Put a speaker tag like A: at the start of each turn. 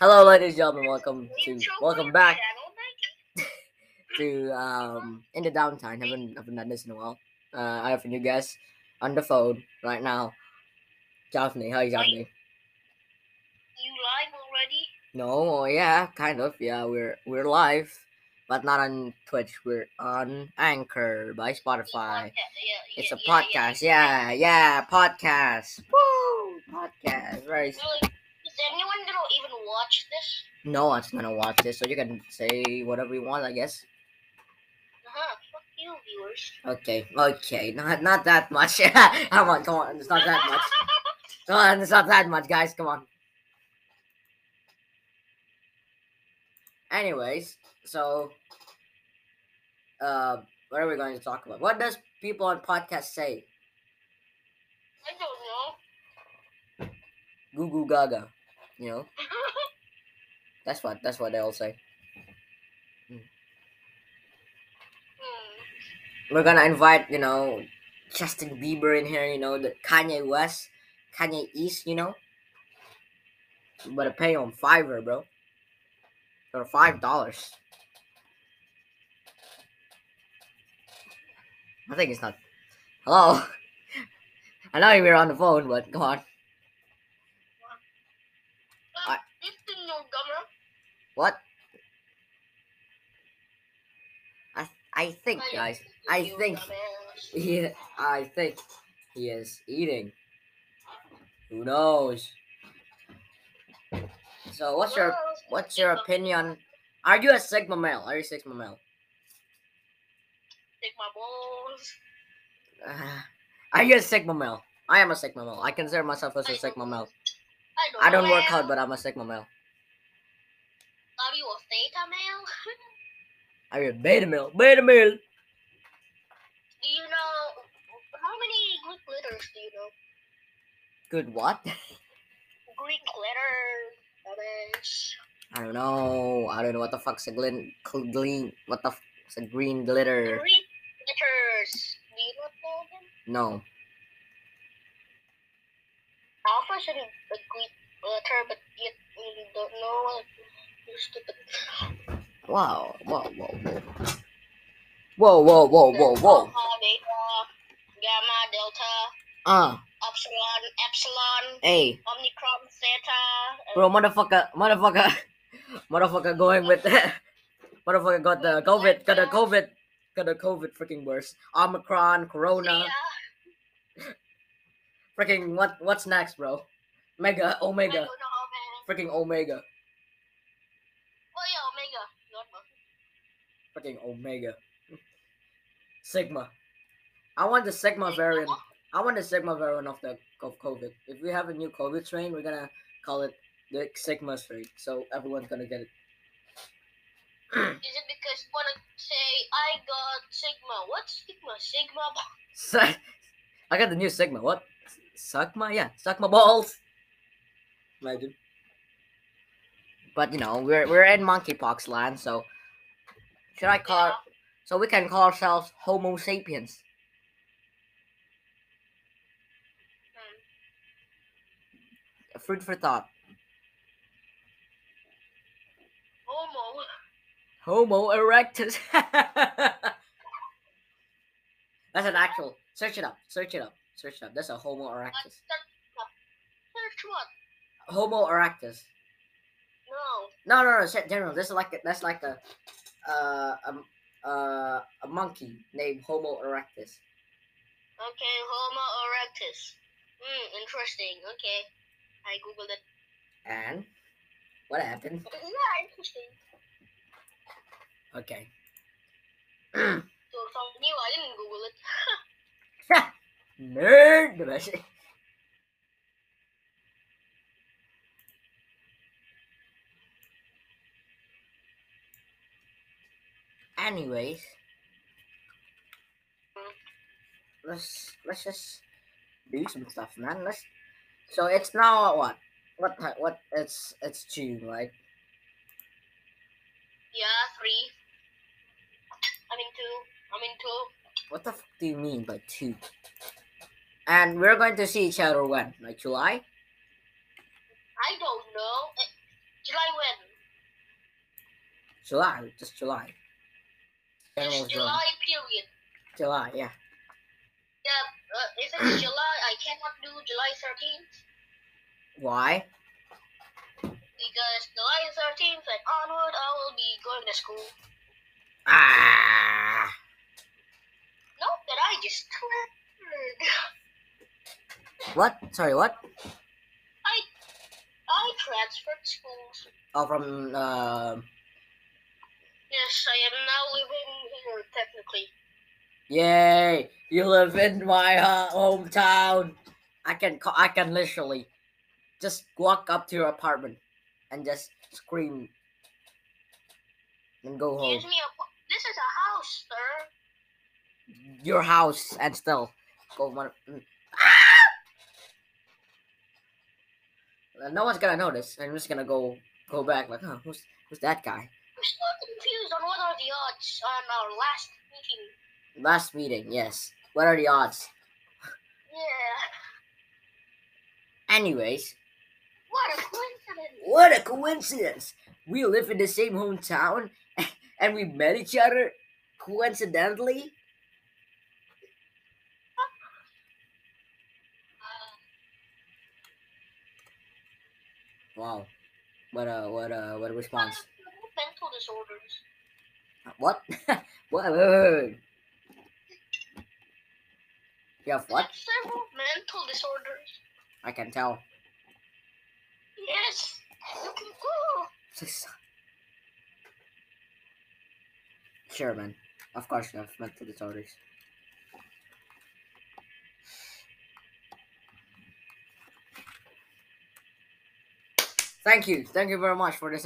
A: Hello, ladies and gentlemen. Welcome to welcome back to um in the downtime. Haven't haven't done this in a while. Uh, I have a new guest on the phone right now. Daphne, hi Daphne.
B: You live already?
A: No, oh, yeah, kind of. Yeah, we're we're live, but not on Twitch. We're on Anchor by Spotify. It's a podcast. Yeah, yeah, podcast. Woo, podcast. Very
B: Really? Is anyone gonna even watch this?
A: no one's gonna watch this, so you can say whatever you want, I guess.
B: Uh-huh. Fuck you, viewers.
A: Okay, okay, not not that much. come on, come on, it's not that much. Come on, it's not that much, guys. Come on. Anyways, so uh, what are we going to talk about? What does people on podcast say?
B: I don't know.
A: Goo goo gaga, you know. That's what that's what they all say.
B: hmm.
A: We're gonna invite, you know, Justin Bieber in here, you know, the Kanye West, Kanye East, you know. You better pay him Fiverr, bro. Or five dollars. I think it's not. Hello. I know you were on the phone, but come on. I-
B: This thing no dumber.
A: What? I I think, guys. I
B: You
A: think-
B: dumbass.
A: Yeah, I think he is eating. Who knows? So what's your
B: Well,
A: what's your opinion? Are you a Sigma male? Are you Sigma male?
B: Take my balls.
A: Uh, are you a Sigma male? I am a Sigma male. I consider myself as a Sigma male. I don't work hard, but I'm a Sigma male.
B: Are you a theta male?
A: Are you a beta male? Beta male.
B: Do you know how many Greek letters do you know?
A: Good what?
B: Greek letters. Dumbass.
A: I don't know. I don't know what the fuck's a glin, cl- glean. What the fuck's a green glitter?
B: Greek letters. Do you not know them?
A: No.
B: Alpha should have a Greek letter, uh, but yet you don't know what you stupid.
A: Wow. Whoa. Whoa. Whoa. Whoa. Whoa. Whoa. Whoa. Whoa.
B: Alpha, beta, gamma, delta,
A: Uh,
B: epsilon, epsilon,
A: hey,
B: omicron, theta. and-
A: bro, motherfucker, motherfucker, motherfucker going with motherfucker got the COVID, got the COVID, got the COVID freaking worse. Omicron, Corona,
B: Theta,
A: freaking what? What's next, bro? Mega,
B: I
A: Omega,
B: don't know how many.
A: freaking Omega,
B: Oh yeah, omega. Not Buffy.
A: freaking Omega, Sigma. I want the Sigma variant. I want the Sigma variant of the of COVID. If we have a new COVID strain, we're gonna call it the Sigma strain. So everyone's gonna get it.
B: Is it because you wanna say I got sigma? What's sigma? Sigma.
A: Sa- I got the new Sigma. What? Suck my yeah, suck my balls. Imagine. But you know, we're we're in monkeypox land, so should I call?
B: Yeah.
A: So we can call ourselves Homo sapiens.
B: Hmm.
A: A Fruit for thought.
B: Homo.
A: Homo erectus. That's an actual. Search it up. Search it up. Search it up. That's a Homo erectus.
B: Search what?
A: Homo erectus.
B: No.
A: No, no, no. shit, General, this is like a, that's like a uh um uh a monkey named Homo erectus.
B: Okay, Homo erectus. Hmm, interesting. Okay. I googled it.
A: And what happened?
B: yeah, interesting.
A: Okay.
B: So something new, I didn't google it.
A: Nerd dimension. Anyways, let's let's just do some stuff, man. Let's. So it's now what? What ti- what? It's it's June, right?
B: Yeah, three. I mean two. I mean two.
A: What the fuck do you mean by two? And we're going to see each other when? Like July?
B: I don't know. Eh, July
A: July, just July. General
B: It's July period.
A: July, yeah.
B: Yeah, uh, if it's July, I cannot do July 13th
A: Why?
B: because July 13th and onward, I will be going to school.
A: Ah,
B: Nope, that I just triggered.
A: what? Sorry, what?
B: I transferred schools.
A: Oh, from uh,
B: Yes, I am now living here technically.
A: yay! You live in my uh, hometown. I can call, I can literally just walk up to your apartment and just scream and go home.
B: Gives me a. po- This is a house, sir.
A: Your house and still go one. mm. Uh, No one's gonna notice. I'm just gonna go go back like, huh? Who's who's that guy?
B: I'm still confused on what are the odds on our last meeting.
A: Last meeting, yes. What are the odds?
B: Yeah,
A: Anyways,
B: what a coincidence.
A: what a coincidence! We live in the same hometown and we met each other coincidentally.
B: Uh,
A: Wow, what a what a what a
B: what
A: response!
B: are mental disorders?
A: What? what? Wait, wait, wait, wait. You have what?
B: Several mental disorders.
A: I can tell.
B: Yes, you can go.
A: Sure, man. Of course, you have mental disorders. Thank you. Thank you very much for this